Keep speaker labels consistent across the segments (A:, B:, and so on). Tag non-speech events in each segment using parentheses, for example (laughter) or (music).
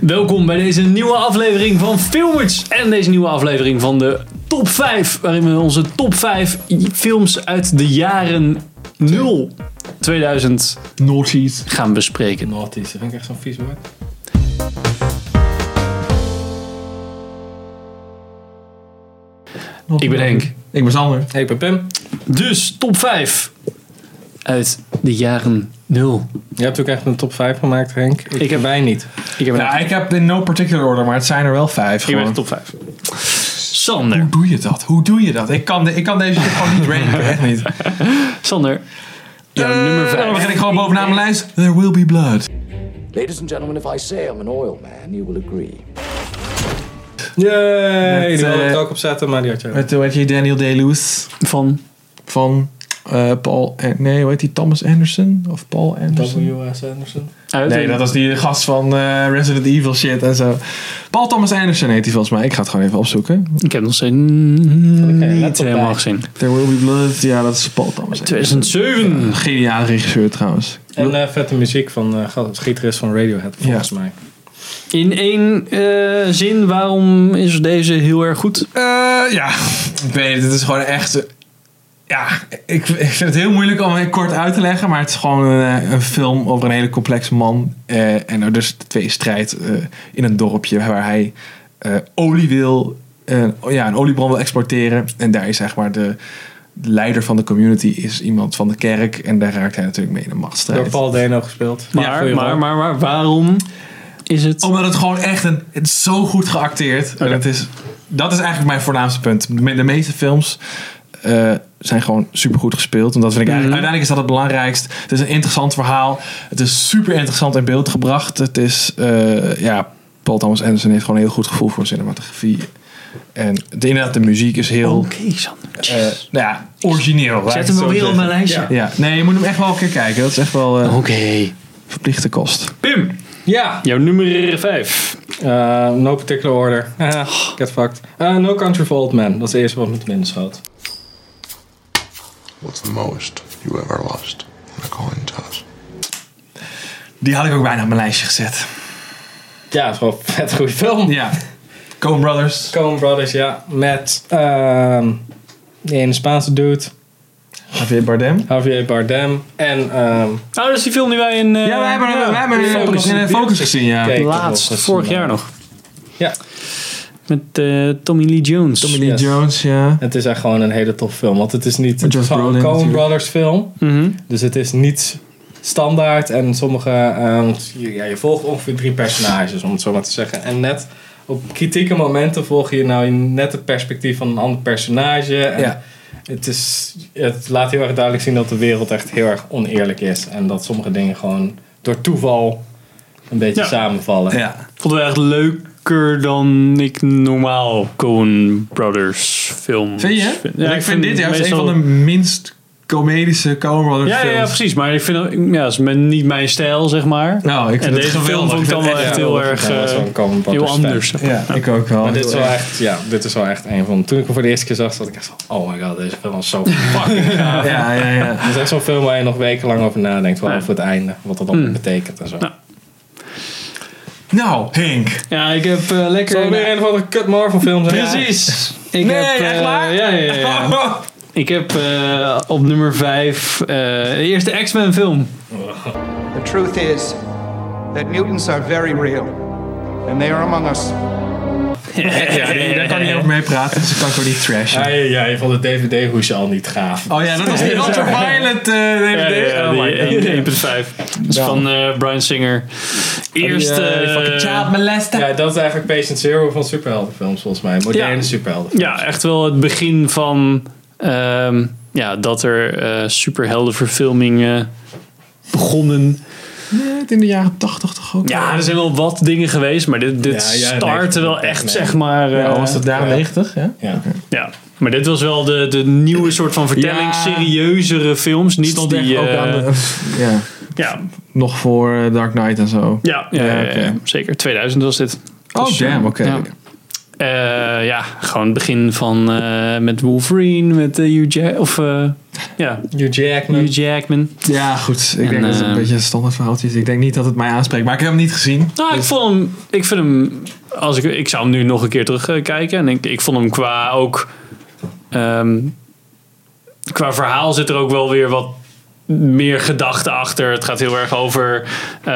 A: Welkom bij deze nieuwe aflevering van Filmers en deze nieuwe aflevering van de top 5, waarin we onze top 5 films uit de jaren 0 2000
B: Naughties.
A: gaan bespreken.
C: Naughties, dat vind ik echt zo'n vies woord.
A: Ik ben Henk.
B: Ik ben Sander.
C: Hey, ik ben Pim.
A: Dus top 5 uit de jaren 0.
C: Je hebt ook echt een top 5 gemaakt, Henk. Ik,
A: Ik heb-
C: wij niet.
A: Ik heb een,
B: Nou, ik heb in no particular order, maar het zijn er wel vijf.
A: ik ben
B: gewoon.
A: de top 5. Sander.
B: Hoe doe je dat? Hoe doe je dat? Ik kan, de- ik kan deze shit gewoon niet ranken, echt niet.
A: Sander. Jouw nummer
B: Dan
A: 5.
B: begin ik gewoon bovenaan mijn lijst. There will be blood.
D: Ladies and gentlemen, if I say I'm an oil man, you will agree.
C: Yay!
B: Met,
C: die wilde ik
B: eh,
C: ook opzetten, maar die had je
B: Met, hoe heet je, Daniel Day-Lewis
A: Van
B: van eh, Paul... An- nee, hoe heet die? Thomas Anderson? Of Paul Anderson?
C: W.S. Anderson.
A: uit
B: Nee, dat was die gast van eh, Resident Evil shit en zo. Paul Thomas Anderson heet hij volgens mij. Ik ga het gewoon even opzoeken.
A: Ik heb nog steeds
C: geen
A: niet
C: laptop
A: helemaal
C: bij.
A: gezien.
B: There Will Be Blood. Ja, dat is Paul Thomas Anderson.
A: 2007.
B: Geniale regisseur trouwens.
C: En eh, vette muziek van eh God, het gitarist van Radiohead, volgens mij.
A: In één eh, zin, waarom is deze heel erg goed?
B: Eh, ja, ik weet het. Het is gewoon echt... eh, Ja, ik, ik vind het heel moeilijk om het kort uit te leggen. Maar het is gewoon een, eh, een film over een hele complexe man. eh, en er dus twee strijd eh, in een dorpje waar hij eh, olie wil... eh, oh ja, een oliebron wil exporteren. En daar is zeg maar de leider van de community is iemand van de kerk. En daar raakt hij natuurlijk mee in een
C: Door
B: machtsstrijd.
C: Paul Dano gespeeld.
A: Maar,
C: Goeie
A: maar,
C: rol.
A: maar, maar waarom is het...
B: Omdat het gewoon echt een. Het is zo goed geacteerd. En het is, dat is eigenlijk mijn voornaamste punt. Me- De meeste films. eh, zijn gewoon supergoed gespeeld. En dat vind ik eigenlijk,
A: Mhm.
B: uiteindelijk is dat het belangrijkst. Het is een interessant verhaal. Het is super interessant in beeld gebracht. Het is, eh, ja, Paul Thomas Anderson heeft gewoon een heel goed gevoel voor cinematografie. En de, inderdaad, de muziek is heel,
A: Oké, Sander.
B: eh, nou ja, origineel. laat ik
A: Zet
B: het
A: hem
B: zo
A: wel weer op
B: zeggen.
A: mijn lijstje.
B: Ja, nee, je moet hem echt wel een keer kijken. Dat is echt wel eh,
A: Oké.
B: verplichte kost.
A: Pim,
C: Ja!
A: jouw nummer 5.
C: Eh, no particular order. (laughs) Haha, Get fucked. Eh, no Country for Old Men. Dat is de eerste wat me te binnen schoot.
E: What's the most you ever lost on a coin toss?
B: Die had ik ook bijna op mijn lijstje gezet.
C: Ja, dat is wel een vet goede film.
B: Ja. Coen Brothers.
C: Coen Brothers, ja. Met ehm die ene Spaanse dude.
B: Javier Bardem.
C: Javier Bardem. En ehm
A: Oh, dat is die film die wij in... eh,
B: Ja, wij hebben,
C: ja.
B: wij hebben
C: Ja,
B: in
C: dat
B: focus,
C: is
B: in
C: een
B: focus
C: beeld.
B: gezien, ja.
C: Kijk.
A: laatst,
C: nog,
A: vorig
C: dat is
A: jaar
C: een-
A: nog.
C: ja,
A: Met eh, Tommy Lee Jones.
B: Tommy Lee
C: Yes.
B: Jones, ja.
C: het is echt gewoon een hele tof film. Want het is niet
B: Met
C: het
B: Josh
C: is gewoon een
B: Brolin
C: Coen
B: natuurlijk.
C: Brothers film.
A: Mhm.
C: Dus het is niet standaard. En sommige... ehm, je- ja, je volgt ongeveer drie personages, om het zo maar te zeggen. En net op kritieke momenten volg je nou net het perspectief van een ander personage. En
B: Ja.
C: het, is, het laat heel erg duidelijk zien dat de wereld echt heel erg oneerlijk is. En dat sommige dingen gewoon door toeval een beetje
A: Ja.
C: samenvallen.
B: ja.
A: Vonden we echt leuker dan ik normaal Coen Brothers films
B: Vind je?
A: vind.
B: Ja, ik vind dit juist
A: meestal-
B: een van de minst comedische Coen Brothers
A: Ja, ja, ja,
B: films.
A: precies. Maar ik vind dat ja, dat is mijn- niet mijn stijl, zeg maar.
B: Nou, ik
A: en
B: vind het
A: deze film
B: geweldig.
A: vond ik dan
B: vind
A: wel
B: het
A: echt
B: echt-
A: heel
C: Ja,
A: erg
C: dat is wel
A: eh,
C: een Coen Brothers
A: heel
C: fan.
A: anders.
B: Ja, ik ook wel.
C: Maar dit is wel
B: Ja.
C: echt, ja, dit is wel echt een van. Toen ik hem voor de eerste keer zag, zat ik echt van, oh my god, deze film is zo fucking gaaf.
B: Ja, ja, ja.
C: Het is echt zo'n film waar je nog wekenlang over nadenkt, wel over het einde, wat dat dan
B: Hmm.
C: betekent en zo.
A: Nou,
B: Nou, Henk.
A: Ja, ik heb eh,
C: Zal
A: lekker...
C: het weer een van de kut Marvel films zijn?
A: Precies. Ik
B: Nee,
A: heb,
B: echt
A: eh,
B: waar?
A: Ja, ja, (laughs) ja, (laughs) ja.
B: Oh,
A: Ik heb eh, op nummer 5 de eerste X-Men film.
F: The truth is that mutants are very real, and they are among us.
B: Ja, die- daar kan ik niet over mee praten, dus ik kan ik ook niet trashen.
C: Ja, ja, ja, je vond de DVD-hoesje al niet gaaf.
B: Oh ja, dat was die ultraviolet eh DVD.
A: Ja,
B: oh
A: die,
B: my god.
A: eh, 1.5. Dat is
B: Ja.
A: van eh, Brian Singer. Eerste...
B: Die, eh, die fucking child molester.
C: Ja, dat is eigenlijk Patient Zero van superheldenfilms, volgens mij. Moderne
A: Ja.
C: superheldenfilms.
A: Ja, echt wel het begin van ehm, ja, dat er eh, superheldenverfilmingen begonnen.
B: Net in de jaren tachtig toch ook?
A: Ja, er zijn wel wat dingen geweest, maar dit, dit
C: Ja, ja,
A: startte
C: nee,
A: wel
C: ik-
A: echt,
C: nee.
A: zeg maar. eh,
B: Ja, was dat jaren negentig? Ja.
C: Ja.
A: ja. Maar dit was wel de, de nieuwe soort van vertelling,
B: Ja.
A: serieuzere films. Niet
B: Stond
A: die.
B: echt ook
A: eh,
B: aan de- ja.
A: ja,
B: Nog voor eh, Dark Knight en zo.
A: ja, ja, ja,
B: Ja, oké.
A: ja, zeker. 2000 was dit.
B: Oh,
A: Dus,
B: damn,
A: eh,
B: oké.
A: ja. Eh, ja, gewoon het begin van eh, met Wolverine, met eh, Hugh Jack- of eh, ja,
C: Hugh Jackman. eh,
A: Hugh Jackman.
B: Ja, goed. Ik
A: En,
B: denk dat het een
A: ehm,
B: beetje een standaard verhaaltje is. Ik denk niet dat het mij aanspreekt, maar ik heb hem niet gezien.
A: Nou, ik vond hem, ik vind hem, als ik, ik zou hem nu nog een keer terugkijken. En ik, ik vond hem qua ook, ehm, qua verhaal zit er ook wel weer wat meer gedachten achter. Het gaat heel erg over eh,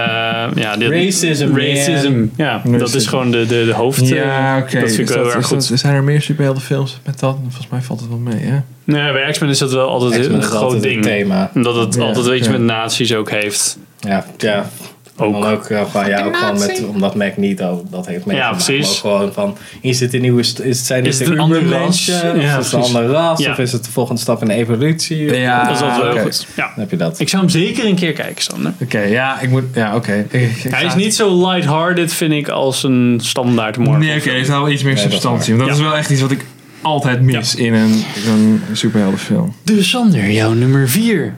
A: ja, dit-
C: Racism, man.
A: Racism, ja. Dat is
B: Racism.
A: gewoon de, de, de hoofd.
B: Ja,
A: eh,
B: oké.
A: Dat vind
B: Is
A: ik wel
B: dat-
A: heel erg
B: is dat-
A: goed.
B: Zijn er meer superheldenfilms met dat? Volgens mij valt het wel mee, hè?
A: Nee, bij X-Men is dat wel altijd
C: X-Men
A: een
C: is
A: groot
C: altijd een
A: ding.
C: thema.
A: Omdat het
B: Ja,
A: altijd wel iets
B: ja.
A: met nazi's ook heeft.
C: Ja, ja.
A: Ook.
C: Ook. Dan ook eh, van, ja, ook gewoon met, omdat Magneto dat heeft meegemaakt.
A: precies.
C: Maar ook gewoon van, is dit een nieuwe... st- Is, zijn dit
A: Is
C: de
A: het een ander ras?
C: Ubermenschen?
A: Ja,
C: of is het een
A: precies.
C: ander ras?
A: Ja.
C: Of is het de volgende stap in de evolutie? Of-
B: Ja,
A: dat is altijd wel heel
B: Ah, oké.
A: goed. Ja.
C: Dan heb je dat.
A: Ik zou hem zeker een keer kijken, Sander.
B: Oké, ja, ik moet... Ja, oké. Ik- ik- ik
A: Hij
B: ga-
A: is niet zo lighthearted, vind ik, als een standaard Marvel.
B: Nee, oké. er is wel iets meer
C: dat is
B: substantie. Want dat
A: Ja.
B: is wel echt iets wat ik altijd mis in een, in een superheldenfilm.
A: Dus Sander, jouw nummer 4.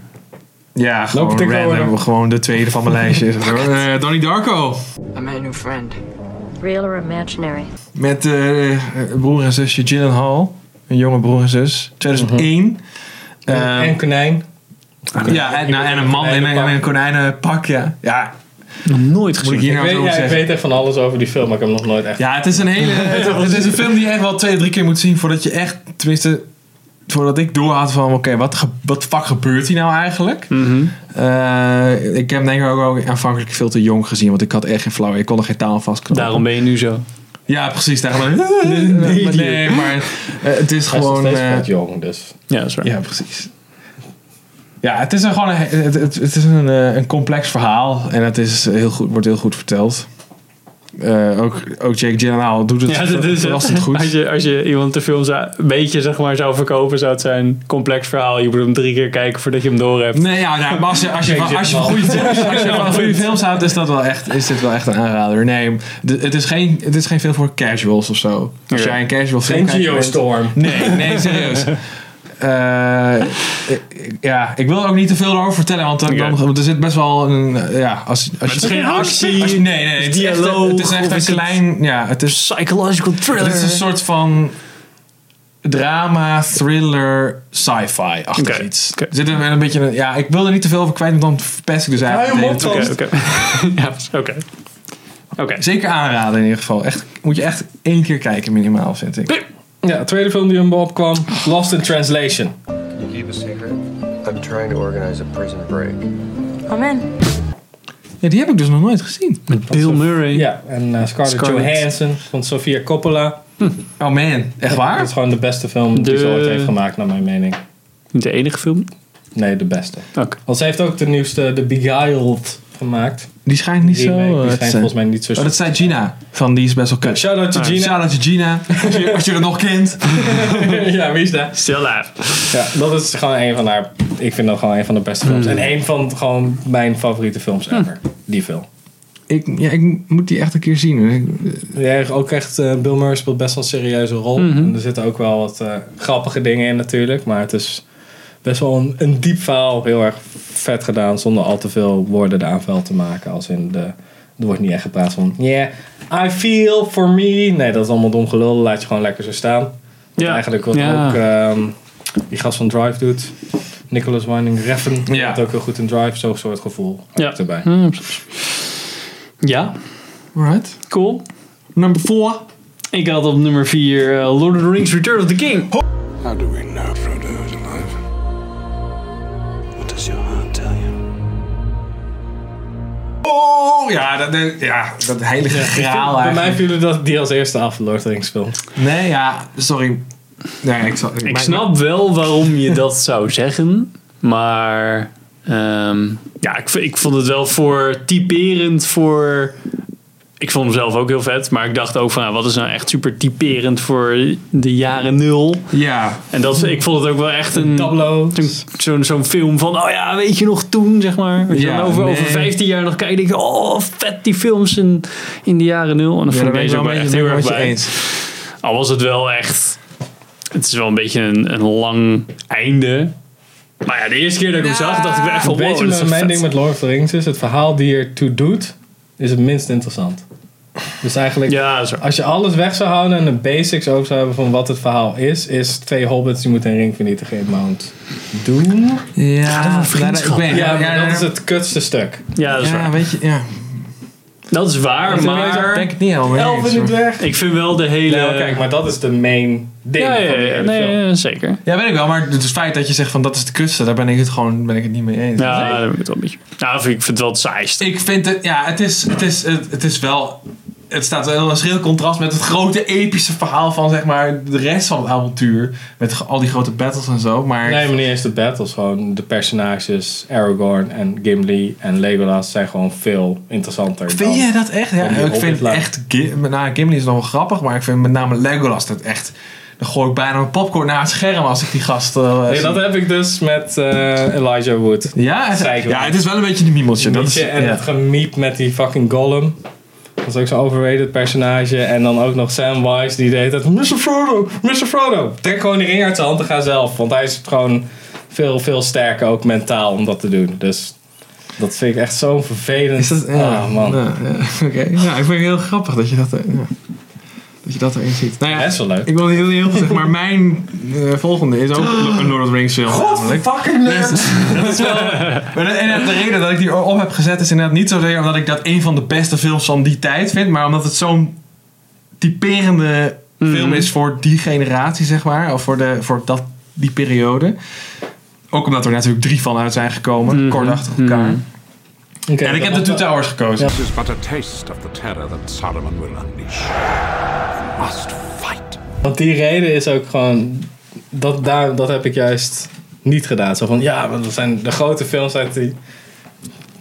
B: Ja,
C: het
B: gewoon
C: ik wel,
B: random.
C: hoor.
B: Gewoon de tweede van mijn lijstje. is het, hoor. Eh, Donnie Darko.
G: I met a new friend.
H: Real or imaginary?
B: Met eh, broer en zusje Gyllenhaal. Een jonge broer en zus. 2001. Ehm,
C: Mhm. en konijn.
B: ja, en, nou, en een man in een, in een konijnenpak, ja. Ja,
A: Nog nooit
B: moet ik
A: gezien.
B: hier
C: Ik
B: nou
C: weet,
B: zo
C: ja,
B: over
C: ik
B: zeggen?
C: weet echt van alles over die film, maar ik heb hem nog nooit echt...
B: Ja, het is een
C: (laughs)
B: hele. Het is een film die je echt wel twee, drie keer moet zien voordat je echt. Tenminste, voordat ik doorhad van oké, wat, ge- wat fuck gebeurt hier nou eigenlijk?
A: Mhm.
B: Eh, ik heb hem denk ik ook, ook aanvankelijk veel te jong gezien, want ik had echt geen flauw. Ik kon er geen taal aan vastknopen.
A: Daarom ben je nu zo.
B: Ja, precies.
C: (laughs)
B: Daarom. nee, nee, maar eh, het is
C: Hij is nog
B: gewoon.
C: steeds
B: eh,
C: wat jong, dus...
A: Ja, dat is waar.
B: ja, precies. Ja, het is een, gewoon een, het, het, het is een, eh, een complex verhaal en het is heel goed, wordt heel goed verteld. Eh, ook, ook Jake Gyllenhaal doet het
A: Ja, dat is
B: verrassend
A: het.
B: goed.
A: Als je, als je iemand de film zou, een beetje zeg maar, zou verkopen, zou het zijn complex verhaal. Je moet hem drie keer kijken voordat je hem doorhebt.
B: Nee, ja, nou, maar als je, als je, van- als je van goede films- als je van goede films houdt, is, dat wel echt, is dit wel echt een aanrader. Nee, de- het is geen, het is geen film voor casuals of zo. Als
A: Ja.
B: jij een casual film
C: Geen
B: kijkt...
C: Geostorm.
B: Nee, nee, serieus. Eh, ik- ik- ja, ik wil er ook niet te veel over vertellen, want, dan, dan-
A: Oké.
B: want er zit best wel een... eh, Ja, als, als
A: Het
B: je,
A: is geen actie,
B: als je- nee, nee, het is echt, een- het is
A: dialoog,
B: echt
A: of is
B: een
A: het-
B: klein... Ja, het is,
A: psychological thriller.
B: het is een soort van drama, thriller, sci-fi-achtig
A: Oké,
B: iets.
A: oké.
B: Er Zit er wel een beetje een- ja, ik wil er niet te veel over kwijt, want dan verpest ik dus eigenlijk. de hele
A: Oké,
B: tijd.
A: oké. (laughs) Ja, oké. Oké.
B: Zeker aanraden in ieder geval. Echt, moet je echt één keer kijken minimaal, vind ik.
C: Ja, tweede film die hem opkwam, Lost in Translation.
I: You keep a secret? I'm trying to organize a prison break.
H: I'm in.
B: Ja, die heb ik dus nog nooit gezien.
A: Bill Murray.
C: Ja, en eh, Scarlett,
B: Scarlett.
C: Johansson van Sofia Coppola.
B: Oh man, echt
C: Dat
B: waar?
C: is gewoon de beste film die
A: De-
C: ze ooit heeft gemaakt, naar mijn mening.
A: Niet de enige film.
C: Nee, de beste.
A: Oké.
C: Want ze heeft ook de nieuwste, The Beguiled, gemaakt.
B: Die schijnt niet
C: Die,
B: zo. eh,
C: remake, die
B: te
C: schijnt
B: zijn.
C: volgens mij niet zo...
B: Oh, dat Ah, zei Gina. Van die is best wel kut.
C: Shout out to Gina.
B: Shout out to Gina. Als je, als je dat nog kent.
C: (laughs) ja, wie is dat?
A: Still alive.
C: Ja, dat is gewoon een van haar... Ik vind dat gewoon een van de beste films.
B: Hmm.
C: En een van gewoon mijn favoriete films ever. Die film.
B: Ik, ja, ik moet die echt een keer zien. Ik-
C: Ja, ook echt, eh, Bill Murray speelt best wel een serieuze rol.
A: Mhm.
C: En er zitten ook wel wat eh, grappige dingen in natuurlijk. Maar het is best wel een, een diep verhaal. Heel erg vet gedaan. Zonder al te veel woorden de aanval te maken. Als in de... Er wordt niet echt gepraat van... Yeah, I feel for me. Nee, dat is allemaal dom gelul. Dat Laat je gewoon lekker zo staan.
A: Ja.
C: Eigenlijk wat
A: Ja.
C: ook ehm, die gast van Drive doet. Nicholas Winding Refn.
B: Ja.
C: Ja. ook heel goed in Drive. Zo'n soort gevoel
A: Ja.
C: erbij.
A: Hm, Ja,
B: Right.
A: cool.
B: Number four.
A: Ik had op nummer 4 Lord of the Rings Return of the King.
E: How do we know Frodo is alive? What does your heart tell you?
B: Oh, ja, dat, dat- ja, dat heilige graal
C: Bij mij
B: eigenlijk.
C: vielen dat die als eerste af, Lord of the Rings film.
B: Nee, ja, sorry. Nee, ik, zal,
A: Ik
B: mijn-
A: snap wel waarom je dat zou zeggen, maar ehm, ja, ik, v- ik vond het wel voor typerend voor. Ik vond hem zelf ook heel vet, maar ik dacht ook van, nou, wat is nou echt super typerend voor de jaren nul?
B: Ja,
A: En dat, ik vond het ook wel echt een
C: Tableau.
A: zo'n- Zo'n zo'n film van, oh ja, weet je nog toen, zeg maar. Als je
B: Ja,
A: dan over,
B: nee.
A: over 15 jaar nog kijkt, denk je, oh, vet die films in, in de jaren nul. En dan
B: ja
A: vond
B: daar
A: ik
B: ben ik
A: deze
B: wel
A: ook
B: een
A: wel echt
B: beetje
A: heel
B: heel
A: erg
B: met je
A: bij.
B: eens.
A: Al was het wel echt, het is wel een beetje een, een lang einde. Maar ja, de eerste keer dat ik hem zag, dacht ik wel echt van,
C: Weet
A: wow,
C: je
A: dat is
C: wat
A: wel
C: mijn
A: vet.
C: ding met Lord of the Rings is? Het verhaal die ertoe doet, is het minst interessant. Dus eigenlijk,
A: Ja, dat is waar.
C: als je alles weg zou houden en de basics ook zou hebben van wat het verhaal is, is twee hobbits die moeten een ring vernietigen in Mount Doom.
B: Ja,
A: over
B: daar-
A: vriendschap.
B: ik weet-
C: Ja, maar
B: daar-
C: dat is het kutste stuk.
A: Ja, dat is
B: Ja,
A: waar.
B: weet je, ja.
A: Dat is waar,
B: Ik
A: maar
B: denk het niet helemaal. mee
C: Elf
B: eens,
C: in de
B: hoor.
C: dwerg.
A: ik vind wel de hele...
C: Ja, kijk, Eh, maar dat is de main ding
A: ja, ja,
C: van die
A: ja,
C: hele
A: nee,
C: film.
A: ja, zeker.
B: Ja, weet ik wel, maar het feit dat je zegt van dat is de kutste, daar ben ik het gewoon ben ik het niet mee eens.
A: Ja, daar ben ik het wel een beetje. Nou, ik vind het wel het saaiste.
B: Ik vind het, ja, het is, het is, het, het is wel. Het staat wel in een schril contrast met het grote epische verhaal van zeg maar de rest van het avontuur. Met ge- al die grote battles en zo. Maar
C: Nee, maar niet eens de battles. Gewoon de personages Aragorn en Gimli en Legolas zijn gewoon veel interessanter.
B: vind
C: dan-
B: je dat echt? Ja,
C: dan die
B: ik vind
C: Hobbit-lijn.
B: echt. Gi- nou, Gimli is nog wel grappig, maar ik vind met name Legolas dat echt. Dan gooi ik bijna mijn popcorn naar het scherm als ik die gast. eh,
C: Nee,
B: zie.
C: dat heb ik dus met eh, Elijah Wood.
B: ja, het,
C: Zeiken we.
B: ja, het is wel een beetje een miemeltje. Dat is,
C: Mietje en
B: ja.
C: het gemiep met die fucking Gollum. Dat is ook zo'n overrated personage. En dan ook nog Samwise die deed het. Mr. Frodo, Mr. Frodo. Trek gewoon die ring uit zijn hand en ga zelf. Want hij is gewoon veel, veel sterker ook mentaal om dat te doen. Dus dat vind ik echt zo'n vervelend.
B: Is dat, ja,
C: Ah, man.
B: Ja, ja, (laughs) Oké, ja, ik vind het heel grappig dat je dat, eh, ja, dat, je dat erin ziet. Nou ja,
C: Dat is wel leuk.
B: Ik wil niet heel heel veel zeggen, maar mijn eh, volgende is (gasps) ook een Lord of the Rings film. namelijk. Dus-
C: fucking
B: (laughs) Maar de, en de reden dat ik die op heb gezet is inderdaad niet zozeer omdat ik dat een van de beste films van die tijd vind, maar omdat het zo'n typerende film is voor die generatie, zeg maar. Of voor, de, voor dat, die periode. Ook omdat er natuurlijk drie van uit zijn gekomen, kort achter elkaar. En ik heb de Two Towers gekozen.
E: This is but a taste of the terror that Saruman will unleash. You must fight.
C: Want die reden is ook gewoon. Dat, daar, dat heb ik juist niet gedaan. Zo van ja, want dat zijn de grote films uit die.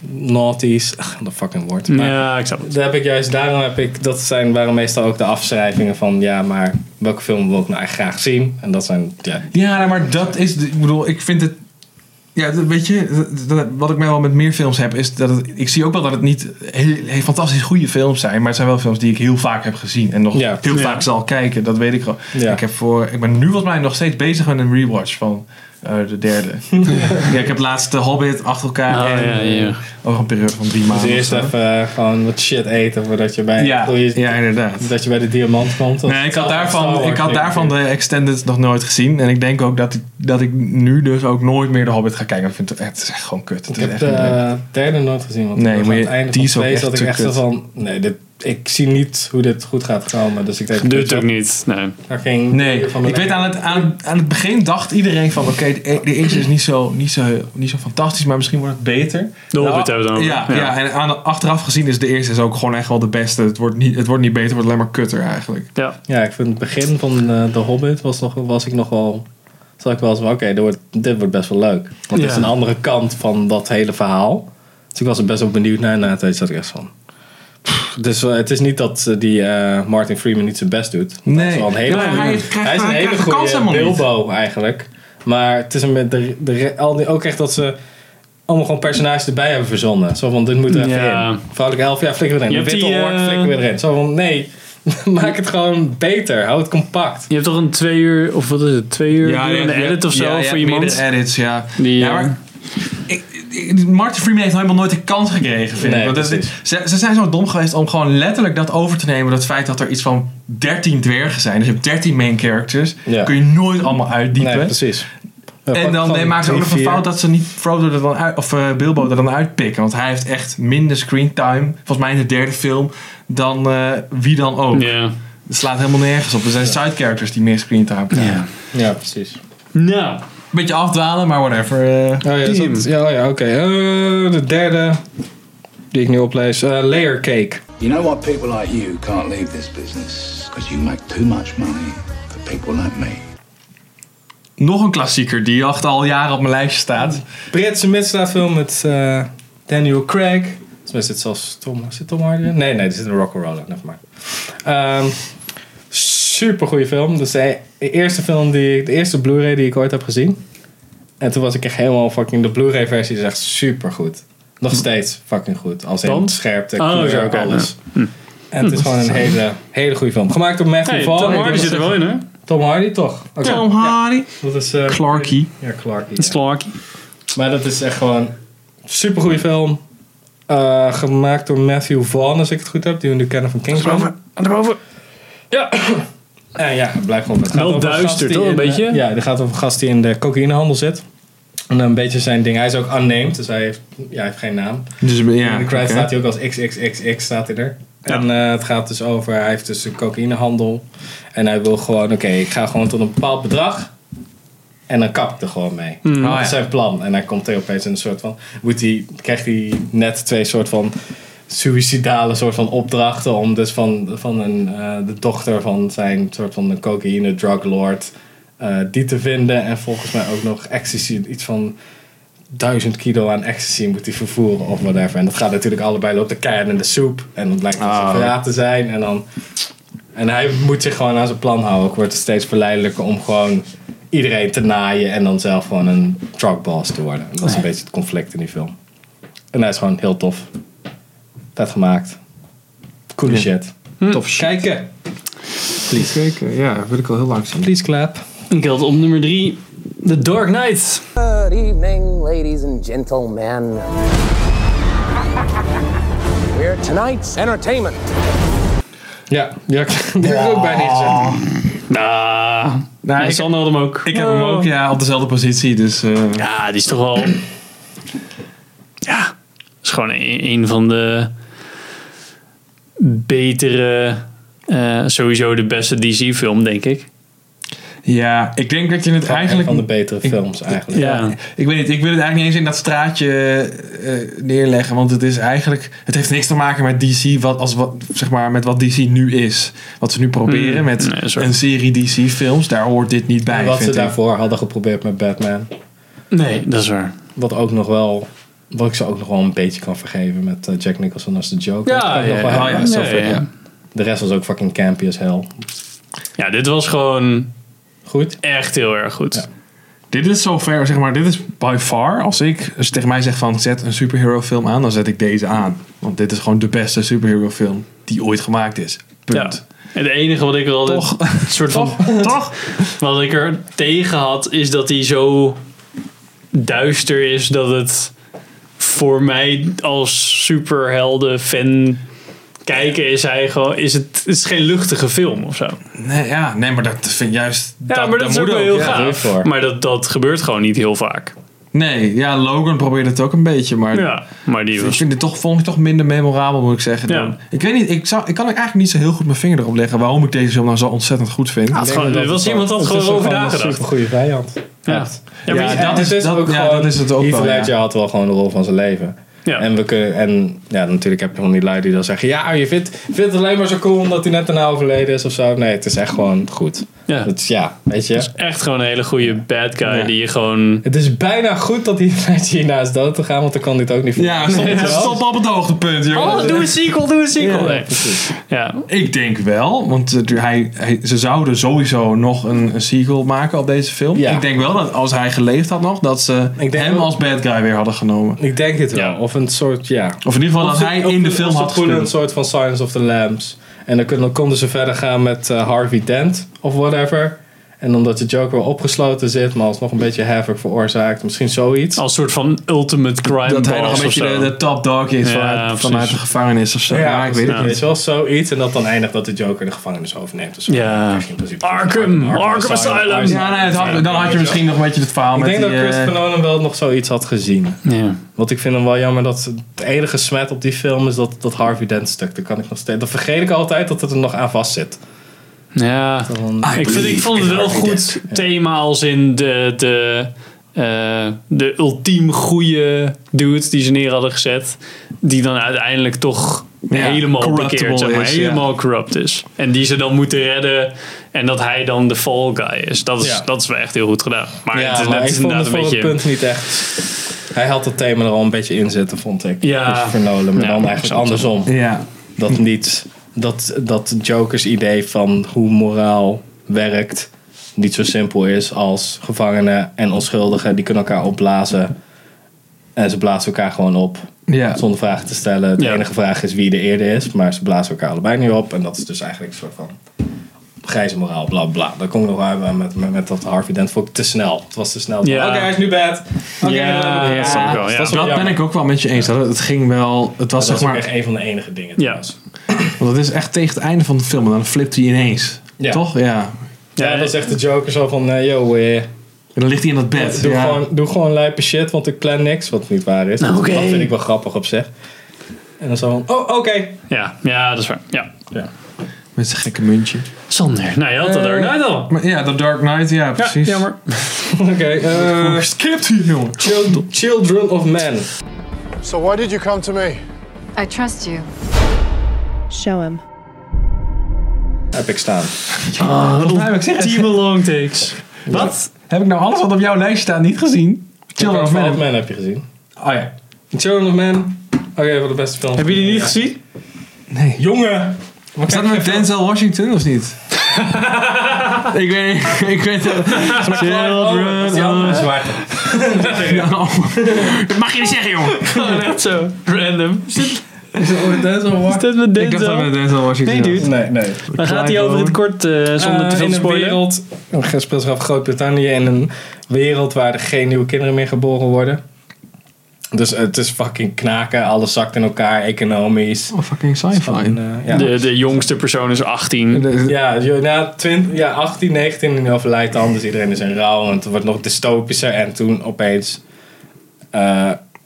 C: Naughties. Ach, dat fucking woord. Maar
A: Ja, ik snap het.
C: Daar heb ik juist, daarom heb ik, dat zijn, waren meestal ook de afschrijvingen van ja, maar welke film wil ik nou eigenlijk graag zien? En dat zijn, ja.
B: Ja, nou, maar dat is. de- ik bedoel, ik vind het. Ja, dat- weet je, dat- dat- wat ik mij wel met meer films heb, is dat het, ik zie ook wel dat het niet heel, heel fantastisch goede films zijn, maar het zijn wel films die ik heel vaak heb gezien en nog
C: Ja.
B: heel
A: Ja.
B: vaak zal kijken. Dat weet ik gewoon.
C: Ja.
B: Ik, heb voor, ik ben nu volgens mij nog steeds bezig met een rewatch van eh, de
A: (laughs)
B: derde. ja, ik heb laatst de Hobbit achter elkaar
A: Oh,
B: en
A: ja, ja.
B: over een periode van drie
C: Dus
B: maanden.
C: eerst
B: of zo.
C: even eh, gewoon wat shit eten voordat je bij,
B: ja,
C: goeie-
B: ja, inderdaad.
C: dat je bij de diamant komt. Dat
B: Nee, ik had
C: hetzelfde als Star
B: daarvan,
C: Wars,
B: ik had
C: denk
B: daarvan de Extended nog nooit gezien. En ik denk ook dat ik, dat ik nu dus ook nooit meer de Hobbit ga kijken. Ik vind het, echt- het is echt gewoon kut. Het
C: Ik
B: is
C: heb
B: echt
C: de
B: niet leuk.
C: eh, derde nooit gezien. Want
B: Nee,
C: aan
B: maar je-
C: het einde
B: die
C: van
B: is ook
C: twee
B: echt
C: zat
B: te
C: ik echt zo
B: kut.
C: van, nee, dit, ik zie niet hoe dit goed gaat komen. Dus ik denk,
A: Duurt ook niet. Nee.
C: Daar ging
B: Nee,
C: van de
B: ik weet aan het, aan, aan het begin dacht iedereen van... Oké, de, e- de eerste is niet zo, niet, zo, niet zo fantastisch, maar misschien wordt het beter.
A: De
B: Nou,
A: Hobbit hebben we dan ook.
B: Ja, ja. en aan, achteraf gezien is de eerste is ook gewoon echt wel de beste. Het wordt niet, het wordt niet beter, het wordt alleen maar kutter eigenlijk.
A: Ja.
C: Ja, ik vind het begin van eh The Hobbit was, nog, was ik nog wel. Zat ik wel eens van: oké, dit, wordt, dit wordt best wel leuk. Want dit
A: Ja.
C: is een andere kant van dat hele verhaal. Dus ik was er best wel benieuwd naar. En na een tijd zat ik echt van. pff, Het is, wel- het is niet dat eh, die eh, Martin Freeman niet zijn best doet. Dat
B: Nee.
C: is wel een
B: Ja,
C: hele
B: maar
C: goeie-
B: hij krijgt-
C: is een
B: hij
C: hele
B: krijgt de kans
C: goede
B: helemaal niet.
C: Bilbo eigenlijk. Maar het is een met de, de, re- al die, ook echt dat ze allemaal gewoon personages erbij hebben verzonnen. Zo van, dit moet er even
A: Ja.
C: in. Vrouwelijke elf, ja, flikker erin.
A: Je
C: De
A: hebt
C: witte
A: die,
C: hoort,
A: eh,
C: flikker weer erin. Zo van, nee, (laughs) maak het gewoon beter. Hou het compact.
A: Je hebt toch een twee uur, of wat is het, twee uur ja,
B: je
A: een
B: hebt-
A: edit of zo
B: ja, je
A: voor
B: hebt
A: iemand?
B: meerdere edits, ja.
A: Die,
B: ja,
A: eh,
B: maar ik, ik- Martin Freeman heeft nog helemaal nooit de kans gekregen, vind
C: Nee,
B: ik. Want dat-
C: precies.
B: ze, ze zijn zo dom geweest om gewoon letterlijk dat over te nemen. Dat feit dat er iets van 13 dwergen zijn. Dus je hebt 13 main characters.
C: Ja.
B: Kun je nooit allemaal uitdiepen.
C: Nee, precies.
B: en dan nee, maken ze ook nog een fout dat ze niet Frodo er dan uit, of eh, Bilbo er dan uitpikken. Want hij heeft echt minder screen time, volgens mij in de derde film, dan eh, wie dan ook.
A: Ja.
B: Het slaat helemaal nergens op. Er zijn side characters die meer screen time krijgen.
C: Ja, precies.
A: Nou,
B: Beetje afdwalen, maar whatever. eh.
C: Oh ja,
A: Team.
C: dat- ja, oh ja oké. Eh, de derde die ik nu oplees. eh, layer Cake.
G: You know why people like you can't leave this business? Because you make too much money for people like me.
B: Nog een klassieker die echt al jaren op mijn lijstje staat.
C: Britse misdaadfilm met eh, Daniel Craig. Volgens mij zit zelfs Tom, zit Tom Hardy in? Nee, nee, er zit een rock'n'roller. Never mind. super goede film. Dus de e- eerste film die ik, de eerste Blu-ray die ik ooit heb gezien. En toen was ik echt helemaal fucking, de Blu-ray versie is echt super goed.
A: Hm.
C: Nog steeds fucking goed. Als in
A: Want?
C: scherpte,
A: Oh,
C: kleur,
A: zo, oké, Hm.
C: alles. En het is gewoon een hele, hele goede film. Gemaakt door Matthew
A: hey,
C: Vaughn.
A: Tom
C: Ik
A: Hardy
C: denk
A: zit er
C: dat-
A: wel in, hè?
C: Tom Hardy toch? Oké.
B: Hardy.
C: Dat is... eh,
B: Clarky.
C: Ja, Clark.
A: Clark.
C: Maar dat is echt gewoon een supergoeie film. Eh, eh, gemaakt door Matthew Vaughn, als ik het goed heb. Die we nu kennen van Kingsman.
A: Boven.
C: Ja. (clears throat) En ja, blijf gewoon. Het gaat
A: Wel
C: over
A: duister,
C: gast die
A: toch? Een
C: in de-
A: beetje?
C: ja, het gaat over een gast die in de cocaïnehandel zit. En een beetje zijn ding. Hij is ook unnamed, dus hij heeft, ja, hij heeft geen naam.
B: Dus ja.
C: in de credits
B: oké.
C: staat hij ook als XXXX staat hij er. En eh, het gaat dus over, hij heeft dus een cocaïnehandel. En hij wil gewoon, oké, ik ga gewoon tot een bepaald bedrag. En dan kap ik er gewoon mee.
B: Oh,
C: Dat
B: ja.
C: is zijn plan. En hij komt er opeens in een soort van, moet hij, krijgt hij net twee soort van suïcidale soort van opdrachten om dus van, van een, eh, de dochter van zijn soort van een cocaïne drug lord eh, die te vinden en volgens mij ook nog ecstasy iets van duizend kilo aan ecstasy moet hij vervoeren of whatever en dat gaat natuurlijk allebei loopt de keihard in de soep en dan blijkt het
B: Ah.
C: een verraad te zijn en dan en hij moet zich gewoon aan zijn plan houden ook wordt het steeds verleidelijker om gewoon iedereen te naaien en dan zelf gewoon een drug boss te worden en dat is een beetje het conflict in die film en hij is gewoon heel tof vet gemaakt. Coole shit.
B: Tof shit.
C: Kijken.
B: Please. Zeker, ja, wil ik al heel lang zien.
C: Please clap.
A: Ik had op nummer 3 The Dark Knight.
J: Good evening, ladies and gentlemen. We're tonight's entertainment.
C: Ja, ja die heb ik ook bijna gezet.
A: Nou,
B: Oh. Nou, ik,
A: Sanne had hem ook. Oh.
B: ik heb hem ook ja, op dezelfde positie, dus... eh,
A: Ja, die is toch wel. Ja, is gewoon een, een van de betere. eh, sowieso de beste DC-film, denk ik.
B: ja, ik denk dat je het
C: Eigenlijk
B: eigenlijk...
C: van de betere films eigenlijk.
A: Ja.
B: Ik weet niet, ik wil het eigenlijk niet eens in dat straatje eh, neerleggen. Want het is eigenlijk. Het heeft niks te maken met DC. Wat, als, wat, zeg maar, met wat DC nu is. Wat ze nu proberen
A: Mm,
B: met
A: nee, sorry.
B: een serie DC-films. Daar hoort dit niet bij.
C: En wat ze
B: vind ik.
C: daarvoor hadden geprobeerd met Batman.
A: Nee, dat is waar.
C: Wat ook nog wel... Wat ik ze ook nog wel een beetje kan vergeven met eh, Jack Nicholson als de Joker. Dat kan ik nog wel
A: ja,
C: hebben.
A: ja,
C: Zo van,
A: ja. ja.
C: De rest was ook fucking campy as hell.
A: Ja, dit was gewoon
C: Goed.
A: echt heel erg goed.
C: Ja.
B: Dit is zover, zeg maar. Dit is by far. Als ik. Als je tegen mij zegt van. Zet een superhero-film aan. Dan zet ik deze aan. Want dit is gewoon de beste superhero-film. die ooit gemaakt is. Punt.
A: Ja. En het enige wat ik er altijd
B: Toch.
A: een soort van (laughs)
B: Toch?
A: wat ik er tegen had is dat hij zo duister is dat het voor mij als superhelden fan kijken is hij gewoon is het, het is geen luchtige film of zo.
B: Nee, ja, nee, maar dat vind ik juist.
A: Ja, maar dat is ook
B: moet
A: wel heel
B: ja.
A: gaaf.
C: daarvoor.
A: Maar dat, dat gebeurt gewoon niet heel vaak.
B: Nee, ja, Logan probeerde het ook een beetje. Maar
A: Ja, maar die
B: Ik
A: was
B: vind het toch, vond ik toch minder memorabel, moet ik zeggen. dan-
A: Ja.
B: Ik weet niet, ik, zou, ik kan ook eigenlijk niet zo heel goed mijn vinger erop leggen waarom ik deze film nou zo ontzettend goed vind.
A: had gewoon, er was iemand dat gewoon over nagedacht.
C: Een goede vijand.
A: Ja. Ja, maar
B: Ja,
A: die-
B: dat is- dat- ja, dat is het ook
C: Heath
B: wel, ja.
C: Ledger had wel gewoon de rol van zijn leven.
A: Ja.
C: En, we kunnen, en ja, natuurlijk heb je van die lui die dan zeggen... Ja, je vindt, vindt het alleen maar zo cool omdat hij net daarna overleden is of zo. Nee, het is echt gewoon goed.
A: ja.
C: Het is, ja, weet
B: Dus-
C: je.
A: Echt gewoon een hele goede bad guy
B: Ja.
A: die je gewoon
C: Het is bijna goed dat Heath Ledger hierna is dood te gaan, want dan kan dit ook niet voor.
B: Ja,
C: Weet je
B: stop,
C: wel?
B: stop op het hoogtepunt, jongen.
A: Oh, doe een sequel, doe een sequel.
B: Ja,
A: Nee. ja.
B: Ik denk wel, want eh, hij, hij- ze zouden sowieso nog een, een sequel maken op deze film.
C: Ja.
B: Ik denk wel dat als hij geleefd had nog, dat ze
C: Ik denk
B: hem
C: wel-
B: als bad guy weer hadden genomen.
C: Ik denk het wel.
A: Ja.
C: Of een soort, ja.
B: Of in ieder geval dat hij in de film had
C: gewoon een
B: gespeeld.
C: soort van Silence of the Lambs. En dan konden, konden ze verder gaan met eh, Harvey Dent of whatever. En omdat de Joker wel opgesloten zit, maar alsnog een beetje havoc veroorzaakt. Misschien zoiets.
A: Als soort van ultimate crime
B: Dat
A: boss
B: hij nog een
A: of
B: beetje de,
A: zo.
B: de top dog is
A: Ja,
B: vanuit,
A: precies.
B: vanuit de gevangenis of zo. Ja, ik weet het
A: ja.
B: niet.
C: Weet je wel, zoiets. En dat dan eindigt dat de Joker de gevangenis overneemt. of zo.
A: Ja.
C: Dat is in principe-
A: Arkham, Arkham Asylum.
B: Ja, nee, het had- dan had
C: Weet
B: je
C: wel.
B: misschien nog een beetje het verhaal
C: Ik
B: met
C: denk dat
B: die, eh,
C: Christopher Nolan wel nog zoiets had gezien.
A: Ja.
C: Want ik vind hem wel jammer dat het enige smet op die film is dat, dat Harvey Dent stuk. Dat kan ik nog steeds. Dat vergeet ik altijd dat het er nog aan vast zit.
A: Ja. Ah, Ik, vind, ik vond het wel goed thema als in de, de, eh, de ultiem goede dude die ze neer hadden gezet. Die dan uiteindelijk toch
B: Ja,
A: helemaal
B: corruptible
A: bekeerd, zeg maar.
B: is, ja.
A: helemaal corrupt is. En die ze dan moeten redden. En dat hij dan de fall guy is. Dat is,
C: Ja.
A: dat is wel echt heel goed gedaan. Maar
C: ja,
A: Ah, het is,
C: maar
A: het is
C: ik vond
A: inderdaad
C: het
A: een beetje...
C: voor het punt niet echt. Hij had het thema er al een beetje in zitten, vond ik.
A: Ja.
C: Christopher Nolan, maar
A: Ja,
C: dan eigenlijk andersom.
B: Ja,
C: Dat niet dat, dat Jokers idee van hoe moraal werkt niet zo simpel is als gevangenen en onschuldigen die kunnen elkaar opblazen. En ze blazen elkaar gewoon op.
B: ja.
C: Zonder vragen te stellen. De
A: Ja.
C: enige vraag is wie de eerder is. Maar ze blazen elkaar allebei niet op. En dat is dus eigenlijk een soort van grijze moraal, bla bla. Daar kom ik nog wel bij met, met, met dat Harvey Dent. Vond ik te snel. Het was te snel.
A: Ja.
C: Oké, hij is nu bad. Oké,
A: Ja,
C: eh,
A: dat snap ik wel, ja.
C: dat is wel
B: Dat ben
C: jammer.
B: ik ook wel met je eens. Dat het het ging wel. Het was
C: Dat is
B: zeg
C: ook
B: maar.
C: echt een van de enige dingen.
A: Ja.
B: Want dat is echt tegen het einde van de film. en Dan flipt hij ineens.
C: Ja.
B: Toch? Ja.
C: Ja, dat is echt de Joker zo van, eh, yo, eh,
B: En dan ligt hij in dat bed.
C: doe,
B: ja.
C: gewoon, doe gewoon lijpe shit, want ik plan niks, wat niet waar is.
A: Nou,
C: Dat-
A: oké.
C: Dat vind ik wel grappig op zich. En dan zo van, oh, oké.
A: Ja, ja, dat is waar. Ja.
B: Met zijn gekke muntje.
A: Sander. Nou, je had dat er net al.
B: Maar ja, The Dark Knight. Ja,
A: Ja,
B: precies.
A: jammer.
C: Oké, eh,
B: Skipt hij, jongen.
C: Chil- Children of Men.
K: So why did you come to me?
H: I trust you.
L: Show him.
C: Heb ik staan.
B: heb ik zeggen.
A: Team long takes. Wat?
B: Heb ik nou alles wat op jouw lijst staat niet gezien?
A: Oh,
B: Children of
C: Children of
B: Men.
C: Men heb je gezien.
B: Oh ja.
C: Children of Men. Oké, wat de beste film.
A: Hebben jullie die niet gezien?
C: Jongen!
B: Is dat met Denzel Washington of niet? (laughs) ik weet (laughs) niet. Ik weet het.
C: Dat is die andere zwarte.
B: Dat mag je niet zeggen, jongen.
A: (laughs) Gewoon net zo. Random. Is dit,
C: Is dat met Denzel
A: is dit
C: Washington?
A: met
B: Ik dacht dat
A: Denzel?
B: met Denzel Washington
A: Nee, dude.
C: Nee, nee.
A: Dan gaat hij over het kort eh, zonder te
C: Eh,
A: veel
C: in
A: te
C: een
A: spoilen.
C: wereld, een gesprek vanaf Groot-Brittannië, in een wereld waar er geen nieuwe kinderen meer geboren worden. Dus het is fucking knaken, alles zakt in elkaar, economisch.
B: Oh, fucking sci-fi.
C: En, eh, ja.
A: De, de jongste persoon is 18.
C: Ja, jo- na 20, ja, 18, 19 en overlijdt dan, dus iedereen is in rouw en het wordt nog dystopischer. En toen opeens eh,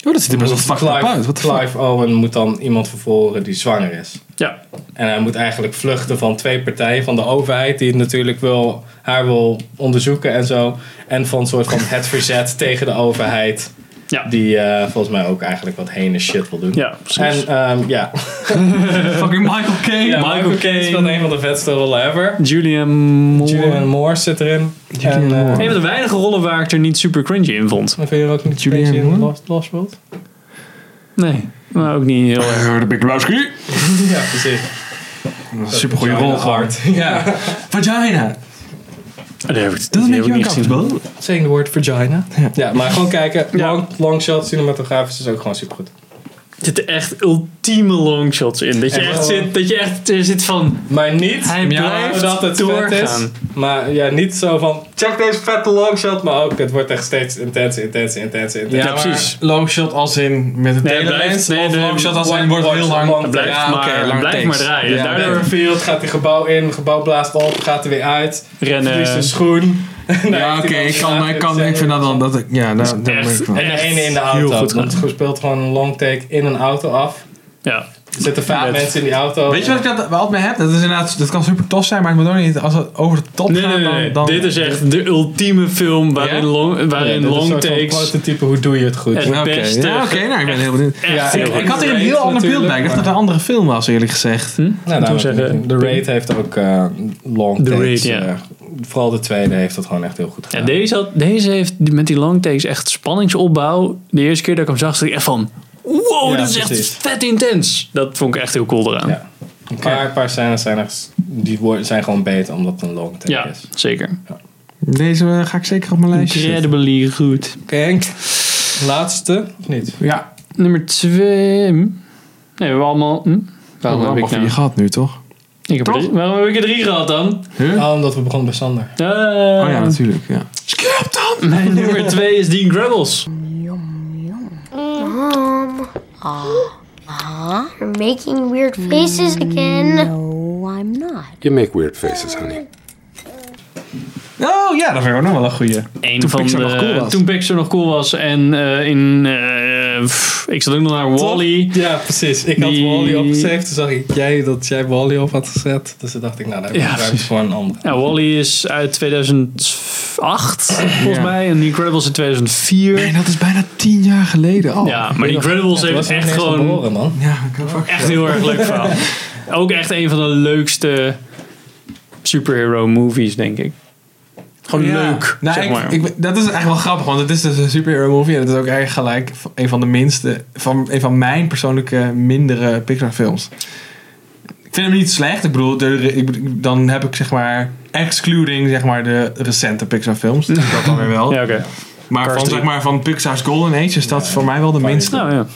B: Oh, dat ziet er best wel
C: moet
B: fucked up uit. Wat
C: Clive,
B: de fuck?
C: Clive Owen moet dan iemand vervoeren die zwanger is.
A: Ja.
C: En hij moet eigenlijk vluchten van twee partijen. Van de overheid die het natuurlijk wil, haar wil onderzoeken en zo. En van soort van (laughs) het verzet tegen de overheid.
A: Ja.
C: Die eh, volgens mij ook eigenlijk wat hene shit wil doen.
A: Ja, precies.
C: En ehm, ja.
B: Fucking Michael Caine.
C: ja,
A: Michael Caine.
C: speelt een van de vetste rollen ever.
A: Julian Moore.
C: Julian Moore zit erin.
B: Julianne
C: en, eh,
B: Moore.
A: Een van de weinige rollen waar ik er niet super cringy in vond.
C: dan vind je er ook niet
B: Julianne
C: Julian in
B: Moore?
C: Lost, Lost World?
A: Nee, maar ook niet heel erg. (laughs)
B: De Big Lebowski.
C: Ja, precies.
B: Super goede rol gehad.
C: Ja.
B: Vagina.
A: Dat heb ik,
B: Dat is
A: die
B: een
A: heb ik
B: beetje
A: niet gezien.
B: uncomfortable.
C: Saying the word vagina. Ja, maar gewoon kijken. Long, long shot, cinematografisch is ook gewoon super goed.
A: Er zitten echt ultieme longshots in. Dat je
C: Echt
A: echt
C: wel.
A: zit, dat je echt er zit van...
C: Maar niet
A: Hij blijft
C: dat het vet is.
A: doorgaan.
C: Maar ja, niet zo van check deze vette longshot. Maar ook het wordt echt steeds intenser, intenser, intenser, intenser.
A: Ja, precies.
B: Longshot als in met een
A: Nee,
B: telelens,
A: blijft- nee,
B: of
A: nee,
B: longshot als
C: one
B: in wordt
C: watch,
B: heel lang.
C: one-
A: Het blijft,
B: Ja,
A: maar,
B: oké,
A: het
B: lange
A: blijft maar
B: takes.
A: draaien.
B: Ja,
A: Daardoor
C: Door een field gaat die gebouw in, het gebouw blaast op, gaat er weer uit.
A: rennen...
C: Verliest een schoen.
A: (laughs)
B: Ja, oké, ik kan, ik kan, ik vind dat dan, dat ik, ja, daar, daar ben
A: echt-
B: ik van.
C: En de ene in de
A: Heel
C: auto.
A: goed
C: Want
A: gedaan.
C: het speelt gewoon een long take in een auto af.
A: Ja.
C: Er zitten vijf
A: Vet.
C: mensen in die auto.
B: Weet je wat ik dat, wat me heb? Dat is inderdaad, dat kan super tof zijn, maar het moet ook niet, als het over de top
A: Nee,
B: gaat,
A: nee, nee,
B: dan,
A: nee.
B: dan...
A: Dit is echt de ultieme film waarin
B: Ja?
A: long,
C: Ja,
A: waarin
C: dit is een
A: long
C: soort van
A: takes...
C: prototype, hoe doe je het goed?
A: Het
B: Ja, Oké,
A: beste.
B: ja, oké, nou, ik ben heel benieuwd.
A: Echt
C: Ja,
A: heel
B: Ik
A: goed.
B: had hier een heel
C: Raid
B: ander beeld
C: natuurlijk,
B: bij. Ik dacht dat
C: maar-
B: het een andere film was, eerlijk gezegd.
C: Nou,
A: Toen
C: daarom
A: zeggen-
C: zeggen, de Raid heeft ook eh, long
A: De
C: takes.
A: Raid, ja.
C: eh, vooral de tweede heeft dat gewoon echt heel goed
A: Ja,
C: gedaan.
A: deze, had- deze heeft met die long takes echt spanningsopbouw. De eerste keer dat ik hem zag, dacht ik echt van... Wow,
C: Ja,
A: dat is
C: precies.
A: echt vet intens. Dat vond ik echt heel cool eraan.
C: Ja. Een paar, paar scènes zijn, echt, die worden, zijn gewoon beter omdat het een long take
A: Ja,
C: is.
A: zeker.
B: Deze eh, ga ik zeker op mijn lijstje zetten.
A: Incredibly goed.
C: Kijk, laatste of niet?
B: Ja,
A: Nummer twee. hm? Nee, we hebben allemaal... hm? Waarom heb ik
B: je
A: nou...
B: gehad nu, toch?
A: Ik heb er
B: Toch?
A: drie- waarom heb ik er drie gehad dan?
B: Huh?
C: Oh, omdat we begonnen bij Sander.
A: Eh,
B: Oh ja, natuurlijk, ja.
A: Mijn nummer twee is Dean Grubbles.
L: Mom. Huh? You're making weird faces again. No, I'm not.
E: You make weird faces, honey.
B: Oh ja, dat vind ik ook nog wel een goeie.
A: Een
B: Toen
A: van
B: Pixar
A: de,
B: nog cool was.
A: Toen Pixar nog cool was. En eh, in... eh, pff, ik zat ook nog naar Wally.
C: Ja, precies. Ik had
A: Die-
C: Wally opgeschreven. Toen zag ik jij, dat jij Wally op had gezet. Dus toen dacht ik, nou, daar heb ik
A: Ja,
C: ruimte voor een ander.
A: Ja, Nou, Wally is uit 2008, volgens
B: Ja.
A: mij. En The Incredibles in 2004.
B: Nee, dat is bijna tien jaar geleden al.
A: Ja, maar The Incredibles
C: Dat
A: heeft
C: was
A: echt gewoon...
C: Geboren, man.
B: Ja, ik heb ook-
A: Echt heel erg leuk verhaal. (laughs) Ook echt een van de leukste superhero movies, denk ik. Gewoon
B: Ja.
A: Oh, leuk,
B: Nou,
A: zeg
B: ik-
A: maar.
B: ik- dat is eigenlijk wel grappig, want het is dus een superhero movie. En het is ook eigenlijk gelijk een van de minste, van, een van mijn persoonlijke mindere Pixar films. Ik vind hem niet slecht. Ik bedoel, de- ik bedoel, dan heb ik zeg maar, excluding zeg maar de recente Pixar films. dus Dat is dan weer wel.
A: (laughs) ja, oké.
B: Maar
A: Cars
B: van,
A: drie.
B: zeg maar van Pixar's Golden Age is dat voor mij wel de minste.
A: Nou ja.